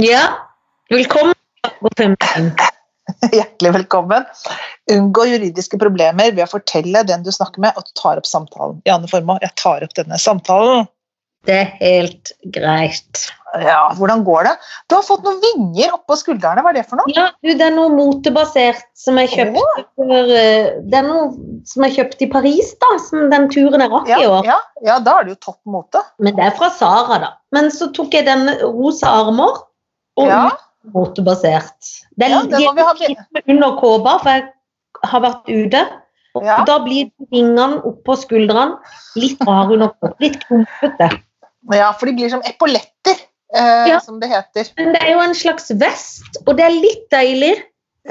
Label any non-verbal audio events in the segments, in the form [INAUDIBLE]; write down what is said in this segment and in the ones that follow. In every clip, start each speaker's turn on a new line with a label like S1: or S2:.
S1: Ja, velkommen. Margot Tømmersen.
S2: Hjertelig velkommen. Unngå juridiske problemer ved å fortelle den du snakker med, at du tar opp samtalen. Janne Formoe, jeg tar opp denne samtalen.
S1: Det er helt greit.
S2: Ja, hvordan går det? Du har fått noen vinger oppå skuldrene, hva er det for noe?
S1: Ja, du, det er noe motebasert som jeg kjøpte for eh, Det er noe som jeg kjøpte i Paris, da, som den turen jeg rakk
S2: Ja,
S1: i år.
S2: ja, ja da er det jo topp mote.
S1: Men det er fra Sara, da. Men så tok jeg den rosa armer og
S2: Ja,
S1: motebasert. Den,
S2: ja, den må vi ha bil-
S1: under kåpa, for jeg har vært ute.
S2: ja.
S1: Da blir vingene oppå skuldrene litt rare under kåpa. Litt klumpete.
S2: ja, for de blir som epauletter, eh,
S1: Ja.
S2: som det heter.
S1: Men det er jo en slags vest, og det er litt deilig.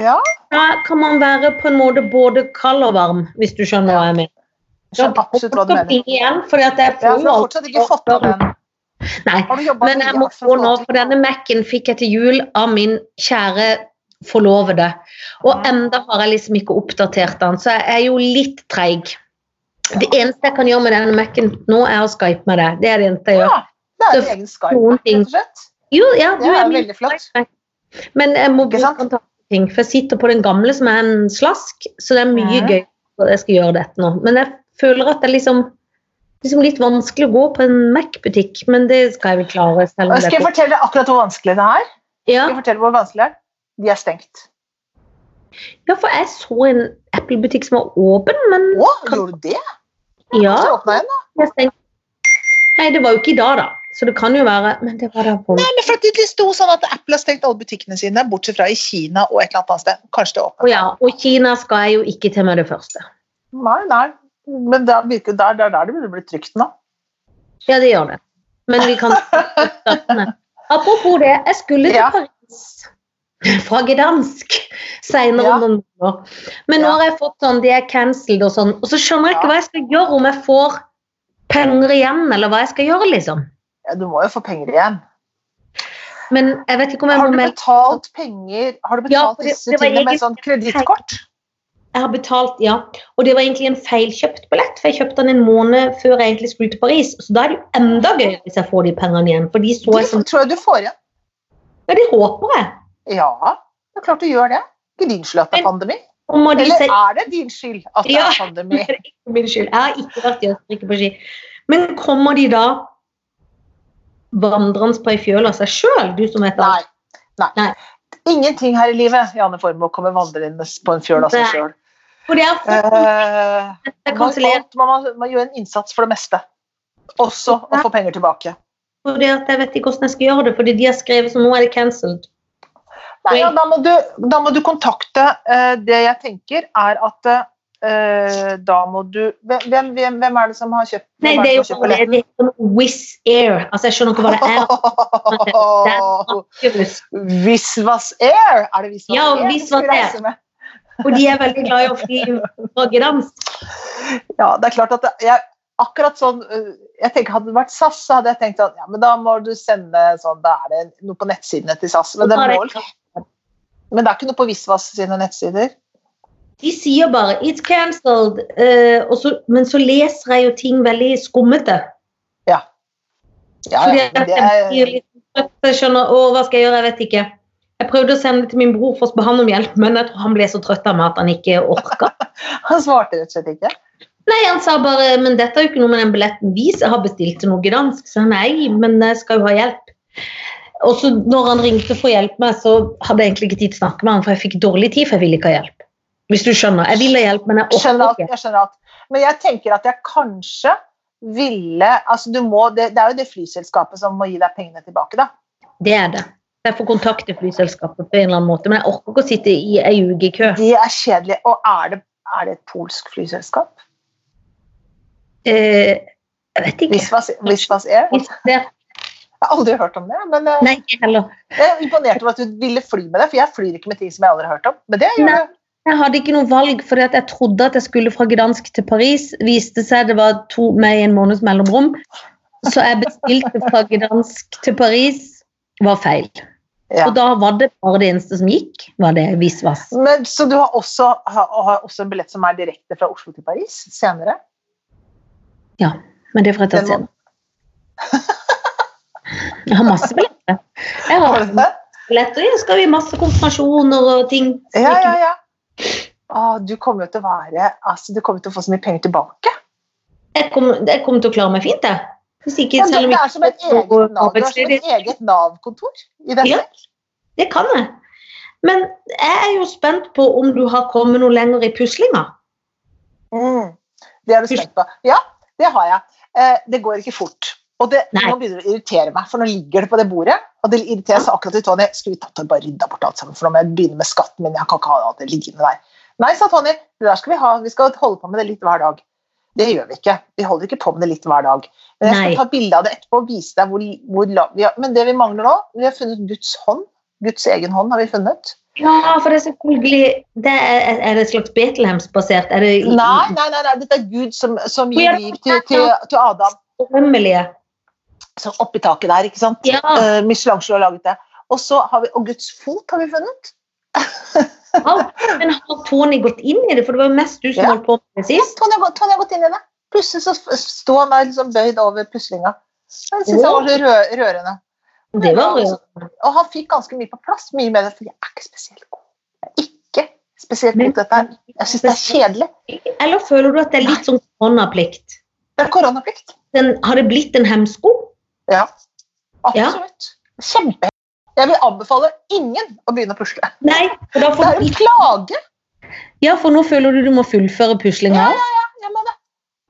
S2: Ja,
S1: Da kan man være på en måte både kald og varm, hvis du skjønner hva jeg mener.
S2: jeg skjønner absolutt hva du mener.
S1: Igjen, fordi at jeg får
S2: Ja, for du
S1: jo
S2: har
S1: alt.
S2: fortsatt ikke fått opp den.
S1: Nei,
S2: Har du jobbet
S1: men
S2: mye
S1: jeg må
S2: hardt for
S1: få
S2: å
S1: nå,
S2: til-
S1: for denne Mac-en fikk jeg til jul av min kjære forlovede. Og enda har jeg liksom ikke oppdatert den, så jeg er jo litt treig. Det eneste jeg kan gjøre med denne Mac-en nå, er å skype med deg. Det er det eneste jeg gjør.
S2: Ja, det er
S1: Så
S2: en egen Skype,
S1: Noen ting.
S2: rett og slett.
S1: Jo, ja, du
S2: Det
S1: er
S2: er
S1: min
S2: veldig flott.
S1: Men jeg må
S2: Ikke
S1: bruke
S2: sant?
S1: kontaktting, for jeg sitter på den gamle som er en slask, så det er mye
S2: Mhm.
S1: gøy at jeg skal gjøre dette nå. Men jeg føler at det er liksom, liksom litt vanskelig å gå på en Mac-butikk, men det skal jeg vel klare. selv om det
S2: Skal jeg
S1: er på-
S2: fortelle deg akkurat hvor vanskelig det er?
S1: ja,
S2: Skal jeg fortelle hvor vanskelig det er? De er stengt.
S1: ja, for jeg så en Apple-butikk som var åpen, men
S2: Å, gjorde du det?
S1: ja.
S2: Så åpna jeg den.
S1: jeg stengte. Nei, det var jo ikke i dag, da. Så det kan jo være Men det var da på
S2: Nei, men for at Det sto sånn at Apple har stengt alle butikkene sine, bortsett fra i Kina og et eller annet annet sted. Kanskje det er åpent.
S1: Å ja, og Kina skal jeg jo ikke til med det første.
S2: Nei, nei. Men da virker det er der, der det burde bli trygt nå.
S1: Ja, det gjør det. Men vi kan Apropos det, jeg skulle til
S2: Ja.
S1: Paris fra Gdansk senere
S2: Ja.
S1: om noen måneder. Men nå
S2: Ja.
S1: har jeg fått sånn, de er cancelled og sånn, og så skjønner jeg
S2: Ja.
S1: ikke hva jeg skal gjøre, om jeg får penger igjen, eller hva jeg skal gjøre, liksom.
S2: Ja, du må jo få penger igjen.
S1: Men jeg vet ikke om jeg
S2: Har
S1: må
S2: du
S1: melde
S2: betalt penger Har du
S1: Ja,
S2: betalt
S1: for det-
S2: disse
S1: det var
S2: tingene med
S1: egentlig-
S2: sånn kredittkort?
S1: Jeg har betalt, ja. Og det var egentlig en feilkjøpt billett, for jeg kjøpte den en måned før jeg egentlig skulle til Paris. Så da er det jo enda gøyere hvis jeg får de pengene igjen, for de så
S2: Det
S1: jeg som
S2: tror jeg du får igjen.
S1: Ja, det håper jeg.
S2: Ja, det er klart du gjør det. Ikke din skyld at det er pandemi.
S1: Og må de
S2: Eller
S1: se-
S2: er det din skyld at det
S1: Ja.
S2: er
S1: [LAUGHS]
S2: pandemi?
S1: For min skyld. Jeg har ikke vært i Østerrike på ski. Men kommer de da vandrende på ei fjøl av seg sjøl, du som heter
S2: Nei. Nei.
S1: Nei.
S2: Ingenting her i livet, Janne Formoe, kommer vandrende på en fjøl av seg
S1: Nei. [LAUGHS]
S2: sjøl.
S1: For det er fort-
S2: Eh,
S1: det er
S2: man,
S1: kansellert
S2: alt- man må, man gjør en innsats for det meste. Også å få penger tilbake.
S1: fordi at jeg vet ikke hvordan jeg skal gjøre det, fordi de har skrevet som nå er det cancelled.
S2: Nei, ja, da, må du, da må du kontakte eh, Det jeg tenker, er at eh, da må du hvem, hvem- hvem, hvem er det som har kjøpt
S1: Nei,
S2: hvem
S1: det er
S2: er
S1: jo
S2: det som har
S1: bare
S2: [LAUGHS] kjøpt
S1: det er sånn Wizz Air. Altså, jeg skjønner ikke hva det [LAUGHS] er.
S2: billetten?
S1: Cirkus.
S2: Visvas Air! Er det Visvas
S1: Ja,
S2: Air? du
S1: Visvas
S2: skulle
S1: Air.
S2: reise med?
S1: Og de er veldig glad i å fly fra Gdansk.
S2: Ja, det er klart at det- jeg, akkurat sånn øh, jeg tenker Hadde det vært SAS, så hadde jeg tenkt at ja, men da må du sende sånn Da er det noe på nettsidene til SAS. Men det,
S1: Og da er
S2: må,
S1: det-
S2: men det er ikke noe på Visvas sine nettsider.
S1: De sier bare 'it's cancelled', eh, og så, men så leser jeg jo ting veldig skummete.
S2: Ja,
S1: Fordi
S2: ja,
S1: at
S2: men det
S1: jeg blir
S2: er,
S1: litt trøtt, så jeg skjønner, å, hva skal jeg gjøre, jeg vet ikke. Jeg prøvde å sende det til min bror for å be han om hjelp, men jeg tror han ble så trøtt av meg at han ikke
S2: [LAUGHS]
S1: orka.
S2: han svarte rett og slett ikke.
S1: Nei, han sa bare, men dette er jo ikke noe med den billetten vi har bestilt til noe gdansk. Så jeg, nei, men jeg skal jo ha hjelp. Og så når han ringte for å hjelpe meg, så hadde jeg egentlig ikke tid til å snakke med han, for jeg fikk dårlig tid, for jeg ville ikke ha hjelp. Hvis du skjønner. Jeg ville ha hjelp, men jeg orker
S2: Skjønner at,
S1: ikke.
S2: jeg skjønner at Men jeg tenker at jeg kanskje ville altså du må, det, det er jo det flyselskapet som må gi deg pengene tilbake, da.
S1: Det er det. Jeg får kontakte flyselskapet på en eller annen måte, men jeg orker ikke å sitte i ei uke i kø.
S2: De er kjedelige. Og er det, er det et polsk flyselskap?
S1: Eh, jeg vet ikke.
S2: Visvas, Visvas Air?
S1: Hvis det er
S2: Jeg har aldri hørt om det, men eh,
S1: Nei, ikke heller.
S2: jeg er imponert over at du ville fly med det, for jeg flyr ikke med ting som jeg aldri har hørt om. Men det gjør
S1: Nei.
S2: du.
S1: Jeg hadde ikke noe valg, fordi at jeg trodde at jeg skulle fra Gdansk til Paris. Viste seg det var to med i en måneds mellomrom. Så jeg bestilte fra Gdansk til Paris. Var feil.
S2: Ja.
S1: Og da var det bare det eneste som gikk, var det Visvas.
S2: Men, så du har også, har, har også en billett som er direkte fra Oslo til Paris senere?
S1: Men det får jeg ta
S2: Den må-
S1: senere. Jeg har masse billetter. Jeg
S2: Har
S1: har
S2: du det?
S1: billetter. Jeg skal i masse konfirmasjoner og ting.
S2: Ja, ja, ja. Å, du kommer jo til å være altså, Du kommer til å få så mye penger tilbake.
S1: Jeg kommer jeg kommer til å klare meg fint, jeg. Hvis ikke,
S2: Ja, men
S1: selv om
S2: det
S1: jeg
S2: er som et
S1: ikke
S2: eget
S1: får
S2: Nav, du har som
S1: arbeidsledighet.
S2: et eget Nav-kontor i dette.
S1: Ja. Det kan jeg. Men jeg er jo spent på om du har kommet noe lenger i puslinga.
S2: Mm. Det er du spent på. Ja, det har jeg. Eh, det går ikke fort. Og det,
S1: Nei.
S2: nå begynner det å irritere meg, for nå ligger det på det bordet. Og det irriterer jeg sa akkurat til Tony. Skulle vi tatt og bare rydda bort alt sammen, for nå må jeg begynne med skatten min. Jeg kan ikke ha alt det liggende der. Nei, sa Tony. Det der skal vi ha. Vi skal holde på med det litt hver dag. Det gjør vi ikke. Vi holder ikke på med det litt hver dag. Men jeg skal
S1: Nei.
S2: ta bilde av det etterpå og vise deg hvor, hvor la- vi har, Men det vi mangler nå, vi har funnet Guds hånd. Guds egen hånd har vi funnet.
S1: Ja, for det er selvfølgelig det er, er det et slags Betlehemsbasert? Er det i-
S2: Nei, nei, nei, nei. dette er Gud som, som
S1: Hvor er det-
S2: gir liv til, til, til Adam.
S1: i drømmelige?
S2: sånn oppi taket der, ikke sant?
S1: Ja,
S2: Eh, Michelangelo har laget det. Og så har vi, og Guds fot har vi funnet.
S1: alt. men har Tony gått inn i det? For det var jo mest du som
S2: Ja.
S1: holdt på med det sist.
S2: Tony har, gått- Tony har gått inn i det. Plutselig så f- står han der liksom bøyd over puslinga. Jeg synes det var så rø rørende.
S1: Det var jo
S2: Og han fikk ganske mye på plass, mye mer, for jeg er ikke spesielt god. Jeg er ikke spesielt god
S1: Men-
S2: til dette her. Jeg syns det er kjedelig.
S1: Eller føler du at det er litt sånn koronaplikt?
S2: Det er koronaplikt.
S1: Den, har det blitt en hemsko?
S2: Ja. Absolutt. Kjempe. Jeg vil anbefale ingen å begynne å pusle.
S1: Nei. For da
S2: Det er
S1: får,
S2: en plage.
S1: ja, for nå føler du du må fullføre puslinga.
S2: Ja, jeg må det.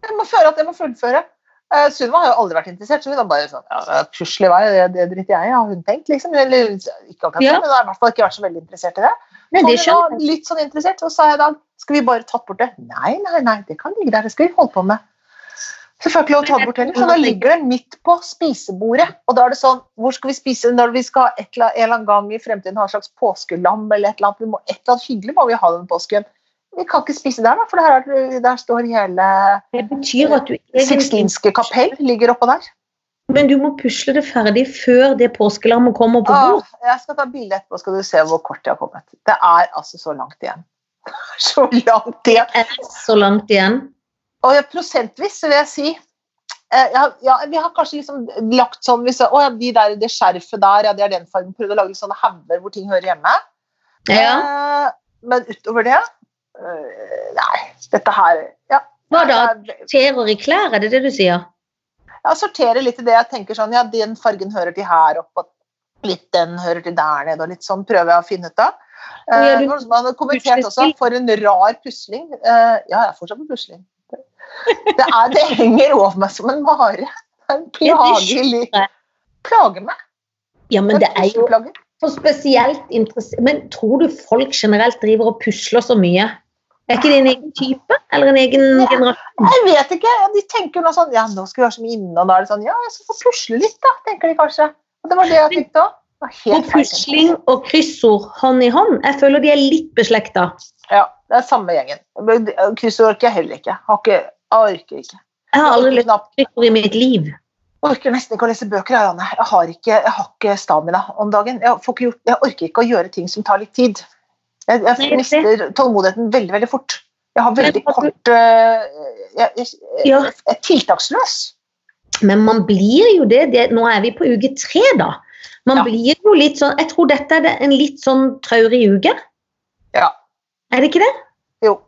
S2: Jeg må føle at jeg må fullføre. Uh, Sunniva har jo aldri vært interessert, så hun har bare sånn ja, Pusle i vei, det, det driter jeg i, har hun tenkt, liksom. Eller ikke akkurat det,
S1: Ja.
S2: men hun har i hvert fall ikke vært så veldig interessert i det.
S1: Nei, det
S2: Tony
S1: skjønner
S2: var litt sånn interessert, og så sa jeg i dag skal vi bare tatt bort det? Nei, nei, nei, det kan ligge der, det skal vi holde på med. Så får jeg ikke lov til å ta det bort heller, så da ligger det midt på spisebordet. Og da er det sånn, hvor skal vi spise når vi skal et eller en eller annen gang i fremtiden ha en slags påskelam eller et eller annet, vi må, et eller annet hyggelig må vi ha den påsken. Vi kan ikke spise der da, for der, er, det- der står hele
S1: Det betyr at du egentlig
S2: Sixtinske kapell ligger oppå der.
S1: Men du må pusle det ferdig før det påskelammet kommer på
S2: Ah,
S1: bord.
S2: jeg skal ta bilde etterpå, skal du se hvor kort jeg har kommet. Det er altså så langt igjen. [LAUGHS] Så langt igjen.
S1: Er det så langt igjen?
S2: Og jeg, prosentvis så vil jeg si eh, ja, ja, Vi har kanskje liksom lagt sånn hvis, jeg- Å ja, de der, det skjerfet der, ja, det er den fargen. Prøvd å lage sånne hauger hvor ting hører hjemme.
S1: Ja.
S2: Eh, men utover det eh, Nei, dette her ja,
S1: Hva da?
S2: det er-
S1: Terer i klær, er det det du sier?
S2: ja, sortere litt i det jeg tenker sånn, ja, den fargen hører til her oppe, og litt den hører til der nede, og litt sånn prøver jeg å finne ut av. Eh,
S1: Ja, du-
S2: det var noen som hadde kommentert også,
S1: puslespil.
S2: for en rar pusling. Eh, ja, jeg er fortsatt på pusling. Det, er, det henger over meg som en mare. Det er en plagelig
S1: skjønner jeg.
S2: Plager meg.
S1: Ja, men
S2: En
S1: det er jo
S2: pusleplage.
S1: for spesielt interessant Men tror du folk generelt driver og pusler så mye? Er ikke det en egen type? Eller en egen
S2: Ja.
S1: generasjon?
S2: Jeg vet ikke. De tenker noe sånn Ja, nå skal vi være som inne, og da er det sånn Ja, jeg skal få pusle litt, da, tenker de kanskje. Og det var det jeg tenkte òg.
S1: Og pusling og kryssord hånd i hånd, jeg føler de er litt beslekta.
S2: Ja, det er samme gjengen. Men Kryssord orker jeg heller ikke. Har ikke jeg orker ikke.
S1: Jeg har aldri
S2: Jeg
S1: løst kryssord i mitt liv.
S2: orker nesten ikke å lese bøker. Jeg, Anne. jeg, har, ikke, jeg har ikke stamina om dagen. Jeg, får ikke gjort, jeg orker ikke å gjøre ting som tar litt tid. Jeg,
S1: Nei,
S2: jeg
S1: det-
S2: mister tålmodigheten veldig veldig fort. Jeg har veldig
S1: Men har du-
S2: kort øh, jeg, jeg, jeg,
S1: Ja.
S2: jeg er tiltaksløs.
S1: Men man blir jo det, det Nå er vi på uke tre, da. Man
S2: Ja.
S1: blir jo litt sånn Jeg tror dette er det- en litt sånn traurig uke.
S2: Ja.
S1: Er det ikke det?
S2: Jo,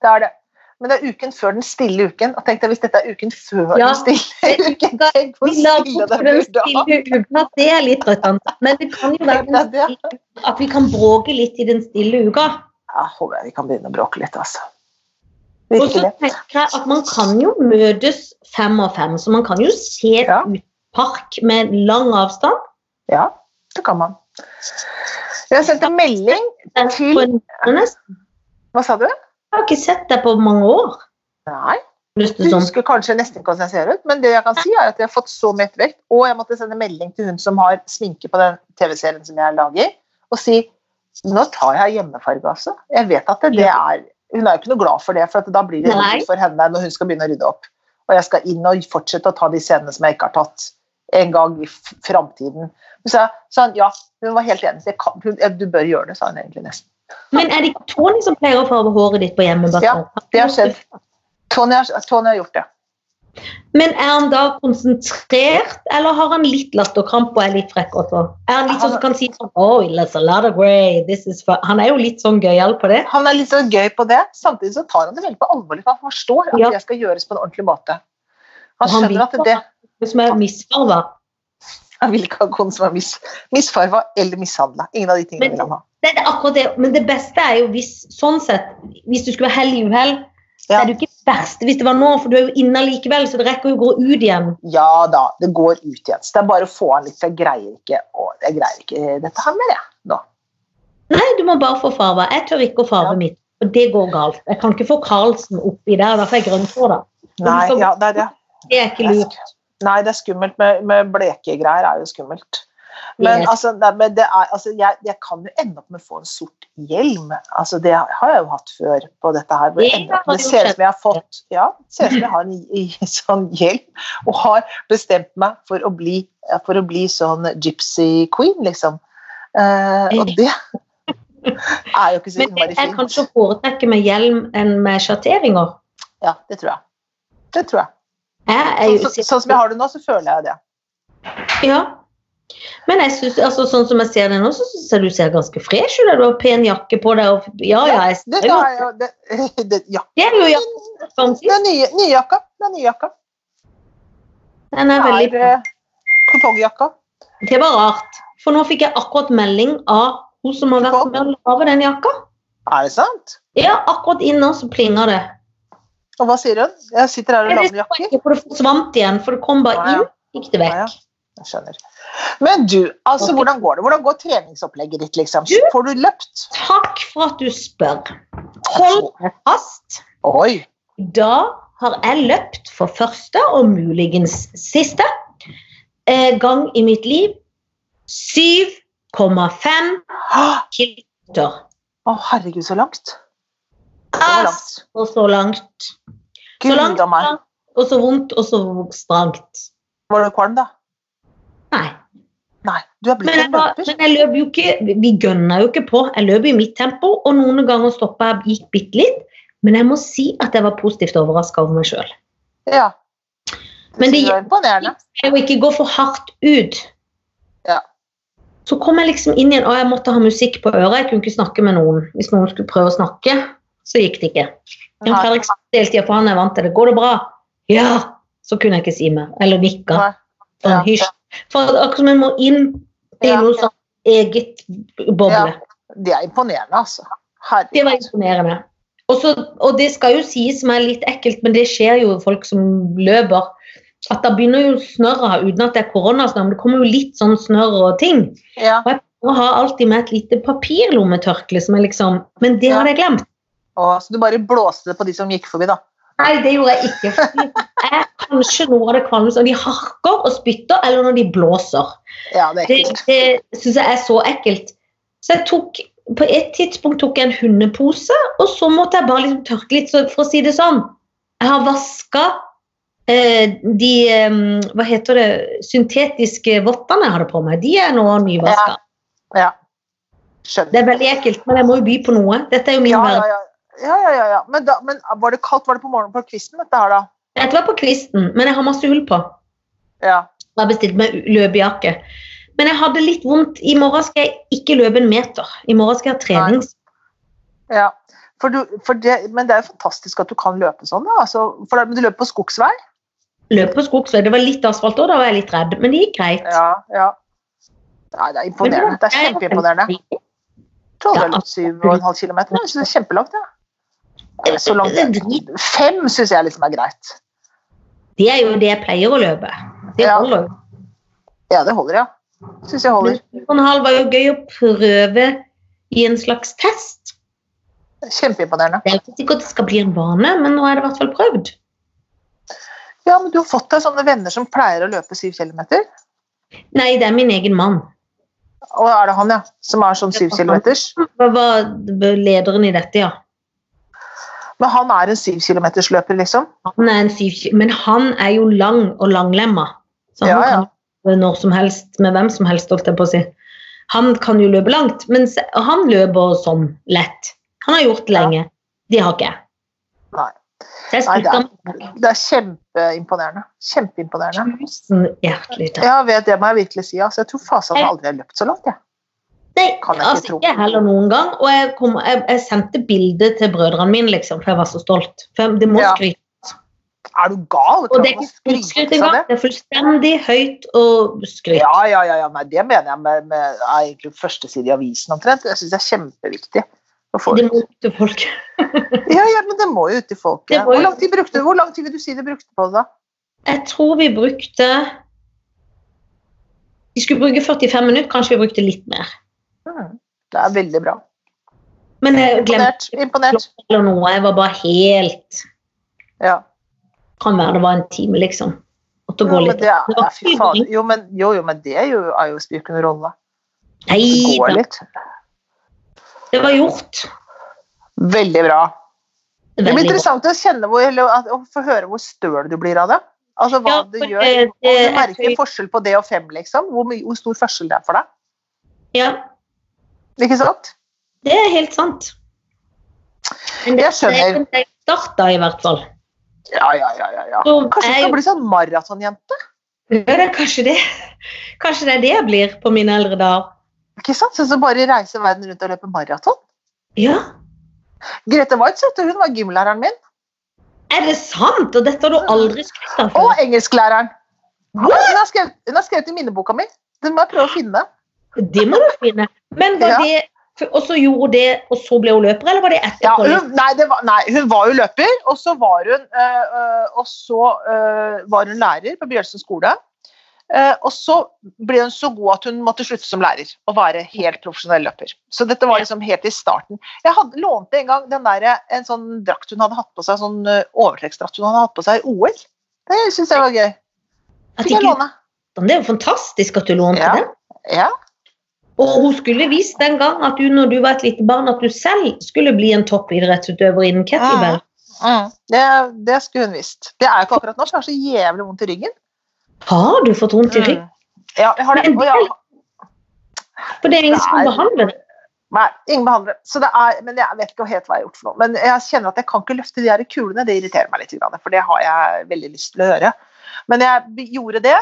S2: det er det. Men det er uken før den stille uken. Og tenk deg hvis dette er uken før
S1: Ja.
S2: den
S1: [LAUGHS]
S2: stille uken.
S1: Da-
S2: Tenk hvor
S1: Vi la
S2: stille
S1: bort
S2: det
S1: den
S2: blir da.
S1: stille uka. Det er litt trøttende. Men det kan
S2: [LAUGHS]
S1: jo
S2: Tenk
S1: være
S2: deg det.
S1: at vi kan bråke litt i den stille uka.
S2: Jeg håper jeg vi kan begynne å bråke litt, altså.
S1: Og så
S2: Virkelig.
S1: tenker jeg at man kan jo møtes fem og fem, så man kan jo se
S2: Ja.
S1: ut park med lang avstand.
S2: Ja, det kan man. Jeg har sendt en melding
S1: eh,
S2: Til-
S1: på en måned.
S2: Hva sa du?
S1: Jeg har ikke sett deg på mange år.
S2: Nei,
S1: Lyst
S2: Du
S1: til sånn.
S2: husker kanskje nesten ikke hvordan jeg ser ut, men det jeg kan si er at jeg har fått så mett vekt, og jeg måtte sende melding til hun som har sminke på den TV-serien som jeg lager, og si nå tar jeg hjemmefarge, altså. Jeg vet at det, det er Hun er jo ikke noe glad for det, for at da blir det
S1: Nei.
S2: rot for henne når hun skal begynne å rydde opp. Og jeg skal inn og fortsette å ta de scenene som jeg ikke har tatt en gang i f- framtiden. Så sa sa hun ja, hun var helt enig. Det kan, hun, du bør gjøre det, sa hun egentlig nesten.
S1: Men er det ikke Tony som pleier å farge håret ditt på hjemmebasert?
S2: Det har skjedd. Tony har, Tony har gjort det.
S1: Men er han da konsentrert, eller har han litt latterkrampe og er litt frekk også? Er han litt sånn som kan si sånn oh, it's a lot of grey, this is fun. Han er jo litt sånn gøyal på det.
S2: Han er litt så gøy på det, samtidig så tar han det veldig på alvorlig, for han forstår at
S1: Ja.
S2: det skal gjøres på en ordentlig måte. Han
S1: Og han
S2: skjønner at
S1: vil-
S2: det
S1: Som er misfarga.
S2: [LAUGHS] Han vil ikke ha kone som er mis, misfarva eller mishandla. Ingen av de tingene
S1: Men-
S2: vil han ha.
S1: Det er akkurat det, men det beste er jo hvis sånn sett, hvis du skulle være hell i uhell, så
S2: Ja.
S1: er det jo ikke verst hvis det var nå, for du er jo inne likevel, så det rekker jo å gå ut igjen.
S2: Ja da, det går ut igjen. Så det er bare å få han litt, for jeg greier ikke, å, jeg greier ikke dette her mer, jeg. Nå.
S1: Nei, du må bare få farva. Jeg tør ikke å farve
S2: Ja.
S1: mitt, og det går galt. Jeg kan ikke få Karlsen oppi der, derfor er jeg grønn for det.
S2: Nei, ja, det er det.
S1: Det er ikke lurt.
S2: Nei, det er skummelt med, med bleke greier. er jo skummelt. Men,
S1: Yes.
S2: altså, nei, men det er, altså, jeg, jeg kan jo ende opp med å få en sort hjelm. Altså, det har jeg jo hatt før på dette her. hvor jeg
S1: Det
S2: ender opp
S1: har
S2: med- Det
S1: jo
S2: ser
S1: skjedd.
S2: ut som jeg har fått ja, det ser ut som jeg har en i- i sånn hjelm, og har bestemt meg for å bli, for å bli sånn gypsy queen, liksom. Eh, og det er jo ikke så
S1: Men det
S2: innmari
S1: er kanskje
S2: fint.
S1: å foretrekke med hjelm enn med sjatteringer.
S2: Ja, det tror jeg. Det tror jeg.
S1: Jeg er
S2: Sånn,
S1: jo
S2: sånn- sånn som jeg har det nå, så føler jeg jo det.
S1: Ja. Men jeg synes, altså, sånn som jeg ser det nå, så syns jeg du ser ganske fresh ut. Du har pen jakke på deg. Og, ja, ja, jeg
S2: Det,
S1: ser jo
S2: er jo, det, det, [LAUGHS] ja.
S1: Det er jo jakka som
S2: det
S1: sist.
S2: er nye, nye jakka. Det er nye jakka.
S1: Den er veldig
S2: Det er eh, kupongjakka.
S1: Det var rart. For nå fikk jeg akkurat melding av hun som har vært med å lage den jakka.
S2: Er det sant?
S1: Ja, akkurat inn nå så plinger det.
S2: Og hva sier hun? Jeg sitter her og
S1: Jeg
S2: lager
S1: visste
S2: jakker.
S1: ikke, for det forsvant igjen, for det kom bare
S2: Ja, ja.
S1: inn, gikk det
S2: Ja, ja.
S1: vekk.
S2: Jeg skjønner. Men du, altså
S1: Ok.
S2: hvordan går det? Hvordan går treningsopplegget ditt, liksom?
S1: Du-
S2: Får du løpt?
S1: Takk for at du spør. Hold deg fast.
S2: Oi!
S1: Da har jeg løpt for første, og muligens siste, eh, gang i mitt liv 7,5
S2: Å,
S1: kilometer.
S2: herregud, så langt. Det var langt.
S1: Altså, så langt. Så
S2: Gud
S1: langt,
S2: a meg.
S1: og så vondt, og så strangt.
S2: Var du kvalm, da?
S1: Nei.
S2: Nei, du er blitt
S1: Men jeg,
S2: en
S1: var,
S2: løper.
S1: men jeg løp jo ikke Vi gønna jo ikke på. Jeg løp i mitt tempo, og noen ganger stoppa jeg gikk bitte litt. Men jeg må si at jeg var positivt overraska over meg sjøl.
S2: Ja.
S1: Men
S2: det
S1: det-
S2: er imponerende.
S1: Jeg må ikke gå for hardt ut.
S2: Ja.
S1: Så kom jeg liksom inn igjen, og jeg måtte ha musikk på øret. Jeg kunne ikke snakke med noen. Hvis noen skulle prøve å snakke, så gikk det ikke. Jan
S2: Nei.
S1: Fredrik sa hele tida, for han er vant til det. 'Går det bra?' 'Ja.' Så kunne jeg ikke si mer. Eller nikka.
S2: Nei.
S1: Sånn,
S2: Ja.
S1: hysj. For at akkurat som jeg må inn i
S2: Ja.
S1: noe sånn eget boble.
S2: Ja. Det er imponerende, altså.
S1: Det var
S2: Herregud.
S1: imponerende. Og så- og det skal jo sies som er litt ekkelt, men det skjer jo folk som løper. At da begynner jo snørra, uten at det er koronasnørr, men det kommer jo litt sånn snørr og ting.
S2: Ja.
S1: Og jeg har alltid med et lite papirlommetørkle som er liksom Men det hadde jeg glemt.
S2: Og, så du bare blåste det på de som gikk forbi, da.
S1: Nei, det gjorde jeg ikke. fordi [LAUGHS] Jeg er kanskje noe av det kvalmeste når de harker og spytter, eller når de blåser.
S2: Ja, det er
S1: Det,
S2: ekkelt.
S1: det syns jeg er så ekkelt. Så jeg tok, på et tidspunkt tok jeg en hundepose, og så måtte jeg bare liksom tørke litt. Så for å si det sånn, jeg har vaska eh, de eh, hva heter det, syntetiske vottene jeg hadde på meg. De er nå nyvaska. Det
S2: Skjønner.
S1: er veldig ekkelt, men jeg må jo by på noe. Dette er jo min
S2: Ja, ja,
S1: verden.
S2: ja. ja, ja, ja, ja. Men, da, men var det kaldt? Var det på morgenen på kvisten, dette her, da?
S1: Dette var på kvisten, men jeg har masse hull på.
S2: Ja.
S1: Jeg har bestilt meg løpejakke. Men jeg hadde litt vondt. I morgen skal jeg ikke løpe en meter. I morgen skal jeg ha trenings.
S2: Ja, for du, for det, men det er jo fantastisk at du kan løpe sånn. Da. Altså, for, da- men du løper på skogsvei?
S1: Løp på skogsvei. Det var litt asfalt òg, da var jeg litt redd, men det gikk greit.
S2: Ja. ja. Nei, det er imponerende. Det er kjempeimponerende. Jeg tror det
S1: Ja,
S2: er syv og en halv kilometer. Jeg synes det er kjempelangt, ja. Ja, Så langt Fem syns jeg liksom er greit.
S1: Det er jo det jeg pleier å løpe. Det
S2: Ja.
S1: holder jo.
S2: Ja, det holder, ja. Syns jeg holder.
S1: Sånn halv var jo gøy å prøve i en slags test.
S2: Kjempeimponerende.
S1: Det er jo ikke sikkert det skal bli en vane, men nå er det i hvert fall prøvd.
S2: Ja, men du har fått deg sånne venner som pleier å løpe syv kilometer?
S1: Nei, det er min egen mann.
S2: Og er det han, ja? Som er sånn syv kilometers?
S1: Hva var lederen i dette, ja?
S2: Men han er en syv kilometersløper, liksom?
S1: Han er en syv, men han er jo lang og langlemma. Så han
S2: Ja, ja.
S1: kan løpe når som helst med hvem som helst, holdt jeg på å si. Han kan jo løpe langt, men se- han løper sånn lett. Han har gjort det
S2: Ja.
S1: lenge. Det har ikke jeg. Så jeg
S2: Nei, det
S1: spurte
S2: er- Det er kjempeimponerende. Kjempeimponerende.
S1: ham tusen hjertelig takk.
S2: Ja, vet, det må jeg virkelig si. Altså, jeg tror fasen jeg aldri har løpt så langt. Jeg.
S1: Nei,
S2: kan jeg ikke
S1: altså
S2: tro.
S1: ikke heller noen gang. Og jeg, kom, jeg, jeg sendte bilde til brødrene mine, liksom, for jeg var så stolt. For jeg- det må
S2: Ja.
S1: skryte.
S2: Er du gal?
S1: Og det er
S2: Klarer du å
S1: ikke
S2: skryte
S1: skryt liksom?
S2: av
S1: engang.
S2: det?
S1: Det er fullstendig høyt å skryte.
S2: Ja, ja, ja, ja. Nei, det mener jeg med, med er egentlig første side i avisen omtrent. Jeg syns det er kjempeviktig. å få
S1: Det
S2: ut.
S1: må ut til folk.
S2: Ja, ja, men det må jo ut til folket.
S1: Det må
S2: Hvor
S1: jo-
S2: lang tid, brukte, hvor lang tid vil du si du brukte på det, da?
S1: Jeg tror vi brukte Vi skulle bruke 45 minutter, kanskje vi brukte litt mer.
S2: Mm. Det er veldig bra.
S1: Men jeg glemte
S2: Imponert. Imponert.
S1: eller noe. Jeg var bare helt
S2: Ja.
S1: Kan være det var en time, liksom. Måtte
S2: Jo,
S1: gå
S2: men
S1: litt.
S2: det er,
S1: Det var
S2: nei, fy faen. Jo, men, jo, jo, men det er jo, er jo spiller ikke noen rolle.
S1: Nei
S2: Går
S1: da,
S2: litt.
S1: det var gjort.
S2: Veldig bra. Det blir
S1: Veldig godt.
S2: interessant å kjenne hvor, eller, at- å få høre hvor støl du blir av det. Altså hva
S1: Ja,
S2: du
S1: for,
S2: gjør.
S1: eh,
S2: Om du
S1: det-
S2: merker forskjell på det og fem, liksom. Hvor, mye- hvor stor forskjell det er for deg.
S1: Ja,
S2: Ikke sant?
S1: det er helt sant. Men
S2: Jeg skjønner.
S1: Det, det starta i hvert fall.
S2: Ja, ja, ja. ja, ja.
S1: Så
S2: Kanskje du
S1: jeg-
S2: skal bli sånn maratonjente?
S1: Ja, det er kanskje det. [LAUGHS] Kanskje det er det jeg blir på mine eldre dager.
S2: Ikke sant? Sånn som bare reiser verden rundt og løper maraton?
S1: Ja,
S2: Grete Waitz, vet du, hun var gymlæreren min.
S1: er det sant? Og dette har du aldri skrytt av før.
S2: Og engelsklæreren. Hun har skrevet, hun har skrevet i minneboka mi. Den må jeg prøve å finne.
S1: Det må du finne. Men var
S2: Ja.
S1: det Og så gjorde hun det, og så ble hun løper, eller var det
S2: Ja,
S1: etterpå?
S2: hun, nei, det var, nei, hun var jo løper, og så var hun, øh, øh, og så, øh, var hun lærer på Bjølsen skole. Eh, og så ble hun så god at hun måtte slutte som lærer og være helt profesjonell løper. Så dette var liksom helt i starten. Jeg hadde, lånte en gang den der, en sånn drakt hun hadde hatt på seg, sånn øh, overtrekksdrakt hun hadde hatt på seg i OL. Det syns jeg var gøy.
S1: At
S2: Fikk jeg
S1: ikke,
S2: låne.
S1: det er jo fantastisk at du lånte
S2: Ja.
S1: den.
S2: Ja.
S1: Og hun skulle vist den gang at du når du var et lite barn, at du selv skulle bli en toppidrettsutøver innen kettlebell.
S2: Mm. Det, det skulle hun visst. Det er jo ikke akkurat nå, så jeg har så jævlig vondt i ryggen.
S1: Har du fått vondt i
S2: Mm.
S1: ryggen?
S2: Ja, jeg har det.
S1: Men
S2: Og jeg,
S1: For det er ingen som
S2: Nei.
S1: behandler det.
S2: Nei, ingen behandlere. Så det er, men jeg vet ikke helt hva jeg har gjort for noe. Men jeg kjenner at jeg kan ikke løfte de her kulene, det irriterer meg litt, grann, for det har jeg veldig lyst til å gjøre. Men jeg b- gjorde det,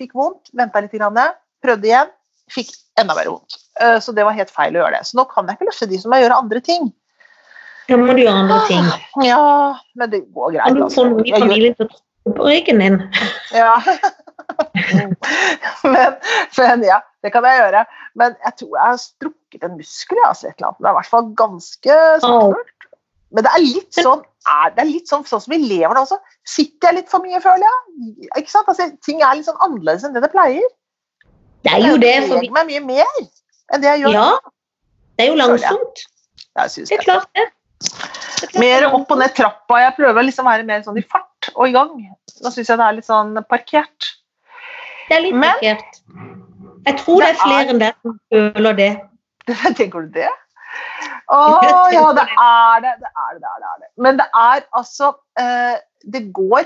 S2: fikk vondt, venta litt, grann, prøvde igjen, fikk enda mer vondt. Eh, Så det var helt feil å gjøre det. Så nå kan jeg ikke løfte de som jeg gjør andre ting.
S1: Da må du gjøre andre ting.
S2: Ja, men det går greit.
S1: Kan du få
S2: Ah. altså.
S1: noen i
S2: Jeg gjør-
S1: familien til å tråkke på ryggen din?
S2: Ja. [LAUGHS] men, men ja, det kan jeg gjøre. Men jeg tror jeg har strukket en muskel. jeg, Altså, et eller annet. Det er i hvert fall ganske snørt. Men det er litt sånn er, det er litt sånn, sånn som vi lever nå også. Sitter jeg litt for mye, føler jeg? Ikke sant? Altså, ting er litt sånn annerledes enn det det pleier.
S1: Det er jo det.
S2: jeg
S1: For vi,
S2: beveger meg mye mer enn det jeg gjør.
S1: ja, det er jo langsomt.
S2: Jeg synes
S1: Det er
S2: det.
S1: klart, det. Det er sånn- klart det
S2: Mer
S1: er
S2: opp og ned trappa. Jeg prøver liksom å være mer sånn i fart og i gang. Nå syns jeg det er litt sånn parkert.
S1: Det er litt
S2: Men-
S1: markert. Jeg tror det
S2: Det
S1: er
S2: er-
S1: flere enn deg som føler det.
S2: [LAUGHS] Tenker du det? Å ja, det er det. Det er det, det er det. det er det. Men det er altså eh, Det går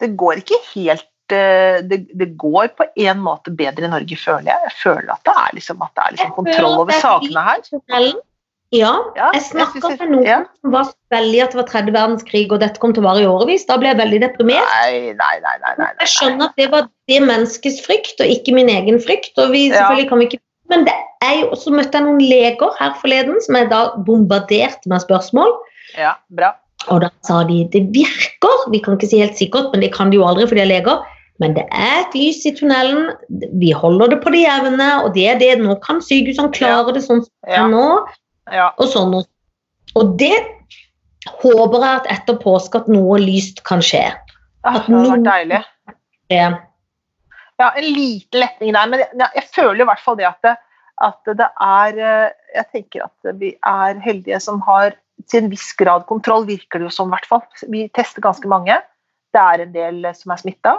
S2: Det går ikke helt eh, det, det går på en måte bedre i Norge, føler jeg. Jeg føler at det er liksom, at det er liksom
S1: Jeg
S2: kontroll
S1: føler
S2: over
S1: at det er
S2: sakene her.
S1: Ellen? Ja.
S2: Ja,
S1: Jeg snakket
S2: synes-
S1: med noen
S2: ja.
S1: som var så veldig at det var tredje verdenskrig og dette kom til å vare i årevis. Da ble jeg veldig deprimert.
S2: Nei, nei, nei. nei, nei,
S1: Jeg
S2: nei.
S1: skjønner at det var det menneskets frykt, og ikke min egen frykt. og vi
S2: Ja.
S1: selvfølgelig kan vi ikke... Men det er jo, og så møtte jeg noen leger her forleden som jeg da bombarderte med spørsmål.
S2: Ja, bra.
S1: Og da sa de det virker, vi kan ikke si helt sikkert, men det kan de jo aldri, for de er leger. Men det er et lys i tunnelen, vi holder det på det jevne, og det er det. Nå kan sykehusene klare det sånn som det
S2: Ja,
S1: er nå,
S2: ja.
S1: og sånn. og- Og det håper jeg at etter påske at noe lyst kan skje.
S2: Ah, Det hadde vært deilig.
S1: Det-
S2: Ja, en liten letning der, men jeg, ja, jeg føler i hvert fall det at det, at det er eh, Jeg tenker at vi er heldige som har til en viss grad kontroll, virker det jo som, i hvert fall. Vi tester ganske mange. Det er en del eh, som er smitta,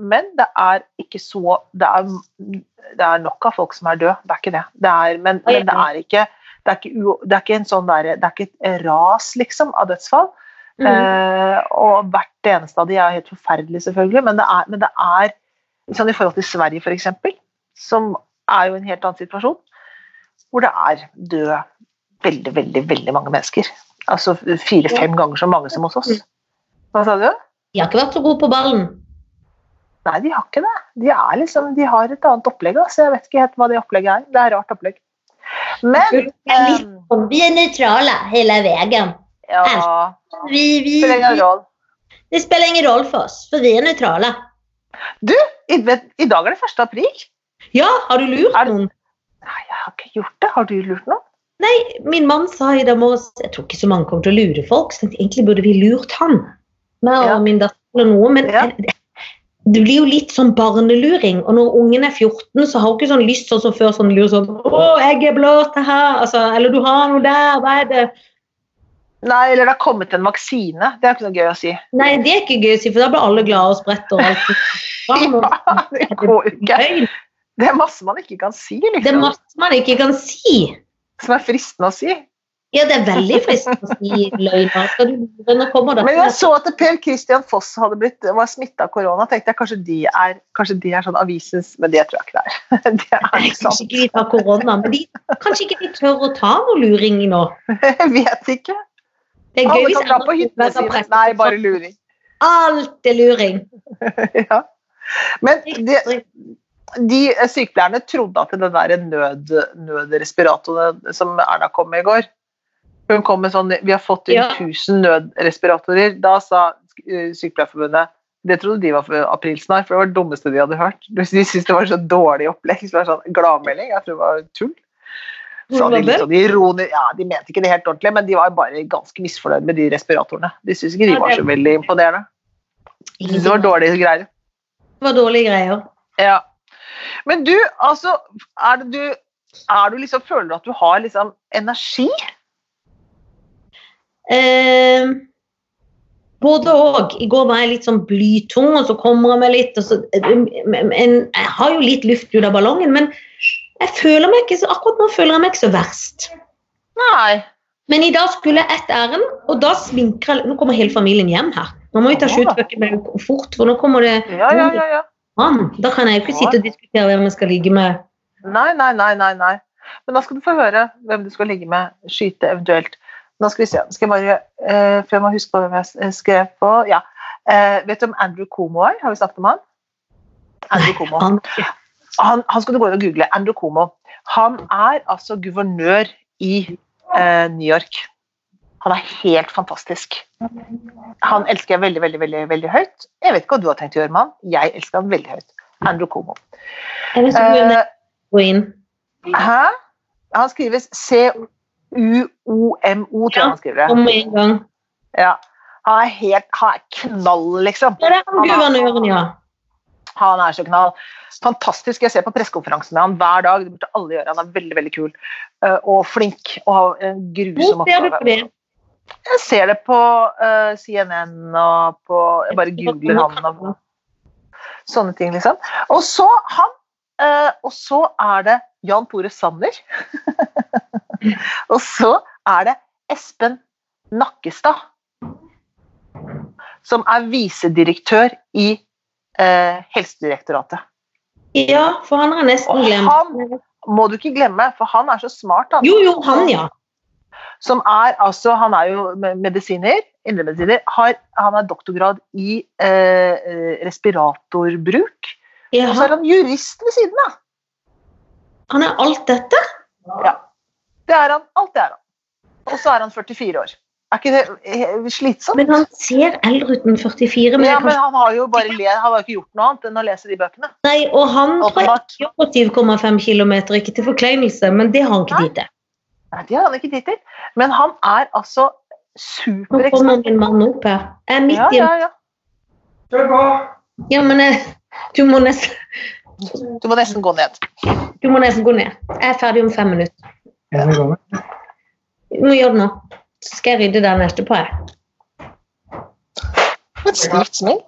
S2: men det er ikke så det er, det er nok av folk som er døde, det er ikke det. det er, men, men det er ikke det er ikke, u, det er ikke en sånn der, det er ikke et ras liksom, av dødsfall.
S1: Mm.
S2: Eh, og hvert eneste av de er helt forferdelig, selvfølgelig, men det er, men det er sånn i forhold til Sverige f.eks., som er jo en helt annen situasjon, hvor det er døde veldig, veldig, veldig mange mennesker. Altså fire-fem ganger så mange som hos oss.
S1: Mm.
S2: Hva sa du?
S1: De har ikke vært så gode på ballen.
S2: Nei, de har ikke det. De, er liksom, de har et annet opplegg. Altså. Jeg vet ikke helt hva det opplegget er. Det er rart opplegg. Men
S1: Det er litt
S2: ehm,
S1: sånn, Vi er nøytrale hele veien.
S2: ja,
S1: Vi, vi,
S2: spiller ingen rolle.
S1: det spiller ingen rolle for oss, for vi er nøytrale.
S2: I, vet- I dag er det 1. april.
S1: Ja, har du lurt
S2: Er det-
S1: noen?
S2: Nei, jeg har ikke gjort det. Har du lurt noen?
S1: Min mann sa i dag morges Jeg tror ikke så mange kommer til å lure folk, så jeg tenkte, egentlig burde vi lurt han. Meg og
S2: Ja.
S1: min datter eller noe, men
S2: Ja.
S1: [LAUGHS] det blir jo litt sånn barneluring. Og når ungen er 14, så har hun ikke sånn lyst sånn som før, sånn lur sånn Å, jeg er blå til her. Altså, eller du har noe der, hva er det?
S2: Nei, eller det har kommet en vaksine. Det er ikke noe gøy å si.
S1: Nei, det er ikke gøy å si, for da blir alle glade og spredt og alt.
S2: [LAUGHS]
S1: Fram og-
S2: Ja, det går jo ikke.
S1: Gøy.
S2: Det er masse man ikke kan si,
S1: Det er
S2: liksom.
S1: masse man ikke kan si.
S2: Som er fristende å si.
S1: Ja, det er veldig fristende å si løgn. Hva Skal du lure når kommer
S2: Men
S1: dette?
S2: jeg så at Per Christian Foss hadde blitt, var smitta av korona. tenkte jeg kanskje de er, kanskje de er sånn avisens Men det tror jeg ikke det er. [LAUGHS] Det er
S1: Kanskje
S2: ikke sant.
S1: ikke de tar korona, men de, kanskje ikke de tør å ta noe luring nå.
S2: Jeg vet ikke.
S1: Det er gøy
S2: Alle
S1: hvis
S2: kan dra på hyttene sine. Nei, bare luring.
S1: Alt er luring.
S2: [LAUGHS] Ja. Men de,
S1: Riktig.
S2: de sykepleierne trodde at den der nød, nødrespiratoren eh, som Erna kom med i går Hun kom med sånn Vi har fått inn
S1: Ja.
S2: 1000 nødrespiratorer. Da sa eh, Sykepleierforbundet det trodde de var for aprilsnarr, for det var det dummeste de hadde hørt. De syntes det var så dårlig opplegg. Så det var sånn Gladmelding. Jeg tror det var tull. Så hadde de, litt sånn ironi- ja, de mente ikke det helt ordentlig, men de var bare ganske misfornøyd med de respiratorene. De syntes ikke de
S1: Ja,
S2: var
S1: det-
S2: så veldig imponerende. De syntes det var dårlige greier.
S1: Det var dårlige greier.
S2: Ja. Men du, altså er det du, er du liksom, Føler du at du har liksom energi?
S1: Eh, både og. I går var jeg litt sånn blytung, og så kommer jeg meg litt. Og så, men, jeg har jo litt luft ut av ballongen, men jeg føler meg ikke så, akkurat nå føler jeg meg ikke så verst.
S2: Nei.
S1: Men i dag skulle jeg et ærend, og da sminker jeg Nå kommer hele familien hjem her. Nå må vi ta skjutbøker med fort, for nå kommer det
S2: Ja, ja, ja. ja.
S1: mann. Da kan jeg jo ikke sitte og diskutere hvem jeg skal ligge med.
S2: Nei, nei, nei, nei, nei. Men da skal du få høre hvem du skal ligge med, skyte eventuelt. Nå skal vi se. Skal jeg bare, eh, for jeg må huske på hvem jeg s- eh, skrev på. Ja. Eh, vet du om Andrew Como er? Har vi snakket om han? Andrew Como.
S1: Han,
S2: han, han skal du gå inn og google. Andrew Cuomo. Han er altså guvernør i eh, New York. Han er helt fantastisk. Han elsker jeg veldig, veldig, veldig veldig høyt. Jeg vet ikke hva du har tenkt å gjøre med han. Jeg elsker han veldig høyt. Andrew Cuomo.
S1: jeg vet ikke om
S2: Eh,
S1: jeg går inn.
S2: hæ? Han skrives C-U-O-M-O, tror jeg han skriver det.
S1: Kom med en gang.
S2: Ja. Han er helt Han er knall, liksom.
S1: Ja, det er han guvernøren, ja.
S2: Han er så knall. Fantastisk. Jeg ser på pressekonferansen med han hver dag. Det burde alle gjøre. Han er veldig veldig kul eh, og flink og har en grusom
S1: Hvor ser du på
S2: oppgave.
S1: det?
S2: Jeg ser det på eh, CNN og på Jeg bare googler han og sånne ting, liksom. Og så han. eh, og så er det Jan Tore Sanner. [LAUGHS] og så er det Espen Nakkestad. Som er visedirektør i eh, Helsedirektoratet.
S1: Ja, for han har jeg nesten
S2: Og
S1: glemt.
S2: han må du ikke glemme, for han er så smart, han.
S1: Jo, jo, han, ja.
S2: Som er altså Han er jo me- medisiner, indremedisiner. Har, han er doktorgrad i eh, eh, respiratorbruk. Og så
S1: ja.
S2: er han jurist ved siden av.
S1: Han er alt dette.
S2: Det er han. Alt det er han. Og så er han 44 år. Er ikke det eh, slitsomt?
S1: Men han ser eldre ut enn 44. Men
S2: ja,
S1: jeg
S2: men
S1: kan,
S2: han har jo bare le, han har jo ikke gjort noe annet enn å lese de bøkene.
S1: nei, og han tror jeg
S2: Åpenbart.
S1: ikke går på 7,5 km, ikke til forkleinelse, men det har han ikke tid til.
S2: Nei, det har han ikke tid til. Men han er altså
S1: Nå kommer
S2: superekspert.
S1: min mann opp her. Jeg er midt
S2: Ja,
S1: i
S2: ja, ja.
S1: Ja, men jeg, du, må nesten,
S2: Du må nesten gå ned.
S1: du må nesten gå ned. Jeg er ferdig om fem minutter. Du må gjøre det nå. Så skal jeg rydde den etterpå. Jeg.
S2: Et stivt smil.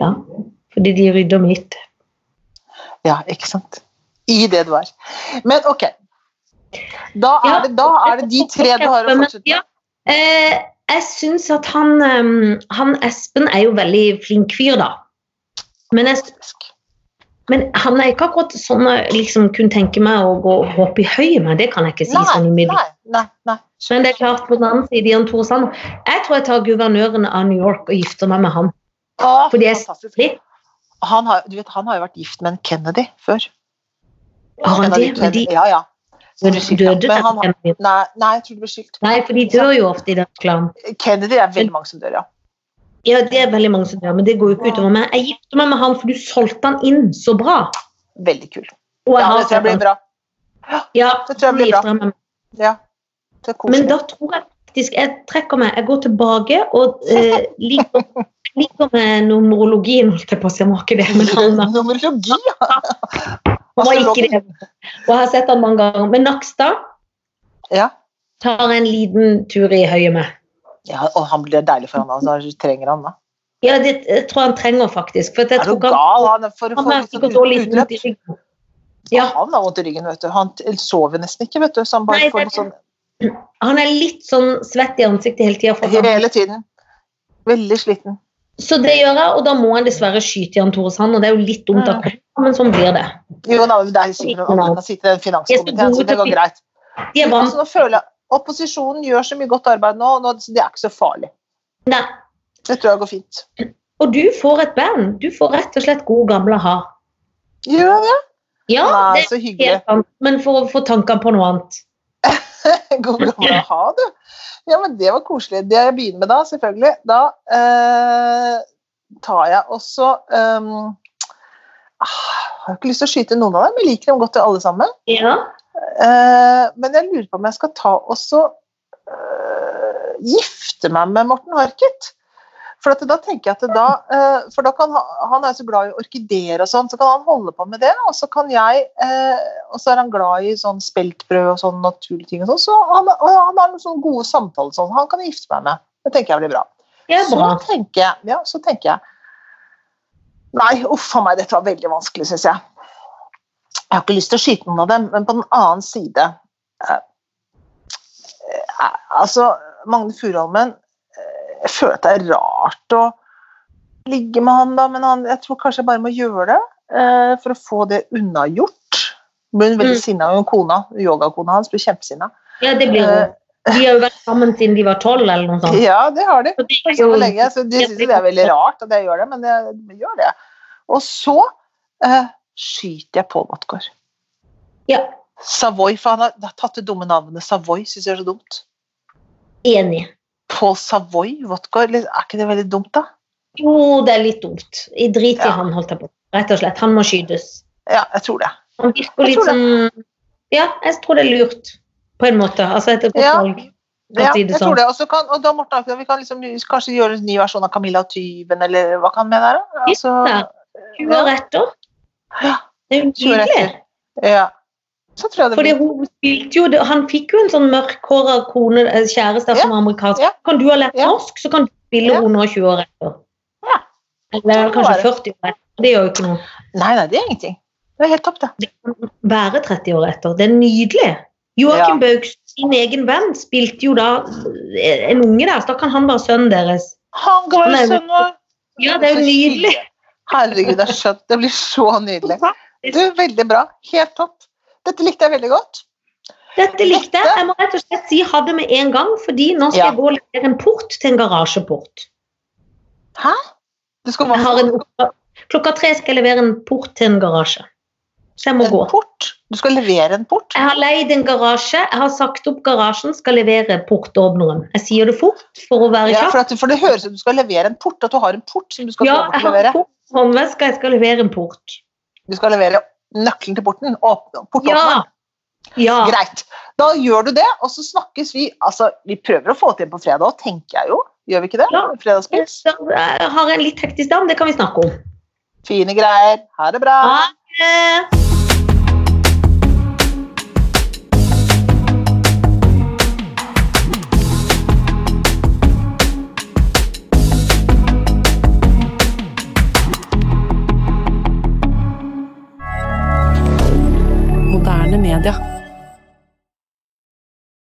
S1: Ja, fordi de rydder mitt.
S2: Ja, ikke sant. I det du er. Men ok. Da er,
S1: Ja.
S2: det, da er det de tre du har å
S1: Men,
S2: fortsette
S1: ja,
S2: med.
S1: eh, jeg syns at han, eh, han Espen er jo veldig flink fyr, da. Men, jeg, men han er ikke akkurat sånn jeg liksom kunne tenke meg å gå og hoppe i høyet med. Det kan jeg ikke si
S2: Nei,
S1: sånn
S2: nei,
S1: umiddelbart.
S2: nei, nei.
S1: Men det er klart, på den annen side, Jan Tore Sanner Jeg tror jeg tar guvernøren av New York og gifter meg med han.
S2: Å,
S1: Fordi jeg-
S2: fantastisk.
S1: Litt.
S2: Han har, du vet, han har jo vært gift med en Kennedy før.
S1: Har han
S2: En av
S1: det? Men de
S2: Kennedy- Ja, ja. Så
S1: døde
S2: de skilte,
S1: døde
S2: men han,
S1: den familien.
S2: nei, nei, jeg tror de ble skilt.
S1: Nei, for de dør jo ofte i den klanen.
S2: Kennedy er veldig mange som dør, ja.
S1: Ja, det er veldig mange som dør, men det går jo ikke utover meg. Jeg gifter meg med han, for du solgte han inn så bra.
S2: Veldig kul.
S1: Og jeg
S2: Ja,
S1: har
S2: det tror jeg blir bra.
S1: Ja,
S2: Det tror jeg
S1: så
S2: blir bra.
S1: gifter jeg meg med
S2: Ja. Det er koselig.
S1: Men da tror jeg faktisk Jeg trekker meg, jeg går tilbake og eh,
S2: [LAUGHS]
S1: liker, liker med numerologien, holdt jeg på å si. Jeg må ikke det, men han
S2: [LAUGHS]
S1: han
S2: Numerologi, ja!
S1: må ikke det. Og jeg har sett han mange ganger. Men Nakstad
S2: Ja.
S1: tar en liten tur i høyet med.
S2: ja, og han blir deilig for han, altså. Han trenger han da.
S1: Ja, det jeg tror jeg han trenger faktisk. For at jeg
S2: Er du
S1: tror han,
S2: gal? Han er for å
S1: han
S2: få
S1: er
S2: litt sånn
S1: sikkert så liten
S2: utløp.
S1: ut i ryggen. Ja,
S2: Han har vondt i ryggen, vet du. Han t- sover nesten ikke, vet du. Så han bare
S1: Nei,
S2: får
S1: det
S2: litt sånn
S1: han er litt sånn svett i ansiktet hele tida.
S2: hele tiden. Veldig sliten.
S1: Så det gjør jeg, og da må jeg dessverre skyte Jan Tore Sand, og det er jo litt dumt av meg, men sånn blir det.
S2: Jo, da, men det er sikkert noen andre som kan sitte i den finanskomiteen, så det går greit.
S1: De er vant
S2: Altså, nå føler jeg Opposisjonen gjør så mye godt arbeid nå, nå så det er ikke så farlig.
S1: Nei.
S2: Det tror jeg går fint.
S1: Og du får et band. Du får rett og slett god gamle har.
S2: Gjør jeg det?
S1: Ja,
S2: Nei,
S1: det
S2: så
S1: er
S2: hyggelig.
S1: helt sant, men for å få tankene på noe annet.
S2: [LAUGHS] God gammel å ha, du. Ja, men det var koselig. Det jeg begynner med da, selvfølgelig, da eh, tar jeg også eh, ah, Har ikke lyst til å skyte noen av dem, jeg liker dem godt alle sammen.
S1: Ja.
S2: Eh, men jeg lurer på om jeg skal ta også eh, gifte meg med Morten Harket. For at da tenker jeg at da, eh, for da kan ha- Han er så glad i orkideer og sånn, så kan han holde på med det. Og så kan jeg, eh, og så er han glad i sånn speltbrød og sånn naturlige ting. og sånn, Så han, og han har noen sånne gode samtaler sånn. Han kan jeg gifte meg med. Det tenker jeg blir bra.
S1: Det er
S2: Så
S1: bra.
S2: tenker jeg, ja, så tenker jeg Nei, uff a meg, dette var veldig vanskelig, syns jeg. Jeg har ikke lyst til å skyte noen av dem, men på den annen side eh, eh, Altså, Magne Furuholmen eh, Jeg følte det er rart å ligge med han, da, men han, jeg tror kanskje jeg bare må gjøre det eh, for å få det unnagjort. Hun ble veldig
S1: Mm.
S2: sinna, hun kona, yogakona hans ble kjempesinna.
S1: Ja, det blir jo.
S2: Eh,
S1: De har jo vært sammen siden de var tolv, eller noe sånt.
S2: ja, det har de.
S1: Så det er
S2: så
S1: jo-
S2: lenge, så de syns det er veldig rart at jeg gjør det, men jeg gjør det. Og så eh, skyter jeg Pål Vatgård.
S1: Ja,
S2: Savoy, for han har, har tatt det dumme navnet Savoy, syns jeg er så dumt.
S1: enig.
S2: Pål Savoy Vatgård, er ikke det veldig dumt, da?
S1: Jo, det er litt dumt. I drit i
S2: Ja.
S1: han, holdt jeg på. Rett og slett. Han må skytes.
S2: Ja, jeg tror det.
S1: Han virker
S2: Jeg
S1: litt
S2: tror
S1: som Ja, jeg tror det er lurt. På en måte. Altså et godt
S2: Ja.
S1: valg. For å
S2: Ja,
S1: si det
S2: jeg
S1: sånn.
S2: tror det. Og, så kan, og da, Morten Akeland, vi kan liksom kanskje gjøre en ny versjon av Camilla Tyven, eller hva kan med der, da? Altså,
S1: 20 år etter.
S2: Ja.
S1: Det er jo
S2: 20 år
S1: nydelig.
S2: etter. ja. Så tror jeg det
S1: Fordi
S2: blir
S1: hun spilte jo, det- Han fikk jo en sånn mørkhåra kone, eh, kjæreste
S2: Ja,
S1: som var amerikansk.
S2: ja.
S1: Kan du ha lært
S2: Ja.
S1: norsk, så kan du spille
S2: Ja.
S1: henne nå 20 år etter.
S2: Ja.
S1: Eller
S2: Sånn var
S1: kanskje
S2: det.
S1: 40 år etter. Det gjør jo ikke noe.
S2: Nei, nei, det er ingenting. Det er helt topp, det.
S1: Være 30 år etter. Det er nydelig. Joakim Baugs sin egen venn spilte jo da eh, en unge der, så da kan han være sønnen deres.
S2: Han
S1: Nei,
S2: ga jo
S1: men-
S2: sønnen vår!
S1: Ja, det er jo
S2: Så
S1: nydelig.
S2: hyggelig. Herregud, det er skjønt. Det blir så nydelig. Du, Veldig bra. Helt topp. Dette likte jeg veldig godt.
S1: Dette likte jeg. Jeg må rett og slett si ha det med en gang, fordi nå skal
S2: Ja.
S1: jeg gå og levere en port til en garasjeport.
S2: Hæ? Du skal
S1: Jeg har en oppgave. Klokka tre skal jeg levere en port til en garasje. Så jeg må
S2: en
S1: gå.
S2: port? Du skal levere en port?
S1: Jeg har leid en garasje. Jeg har sagt opp garasjen skal levere portåpneren. Jeg sier det fort for å være
S2: Ja,
S1: kjapp.
S2: for, at, for det høres ut som du skal levere en port, at du har en port som du skal
S1: Ja,
S2: få lov
S1: jeg
S2: til å
S1: har en
S2: levere.
S1: port på håndveska. Jeg skal levere en port.
S2: Du skal levere nøkkelen til porten. Åpne, portåpner.
S1: Ja. Ja.
S2: Greit. Da gjør du det, og så snakkes vi. Altså, vi prøver å få til en på fredag òg, tenker jeg jo. Gjør vi ikke det?
S1: Ja.
S2: Fredagspils.
S1: Så Jeg har en litt hektisk dag, men det kan vi snakke om.
S2: Fine greier. Ha det bra.
S1: Ha det!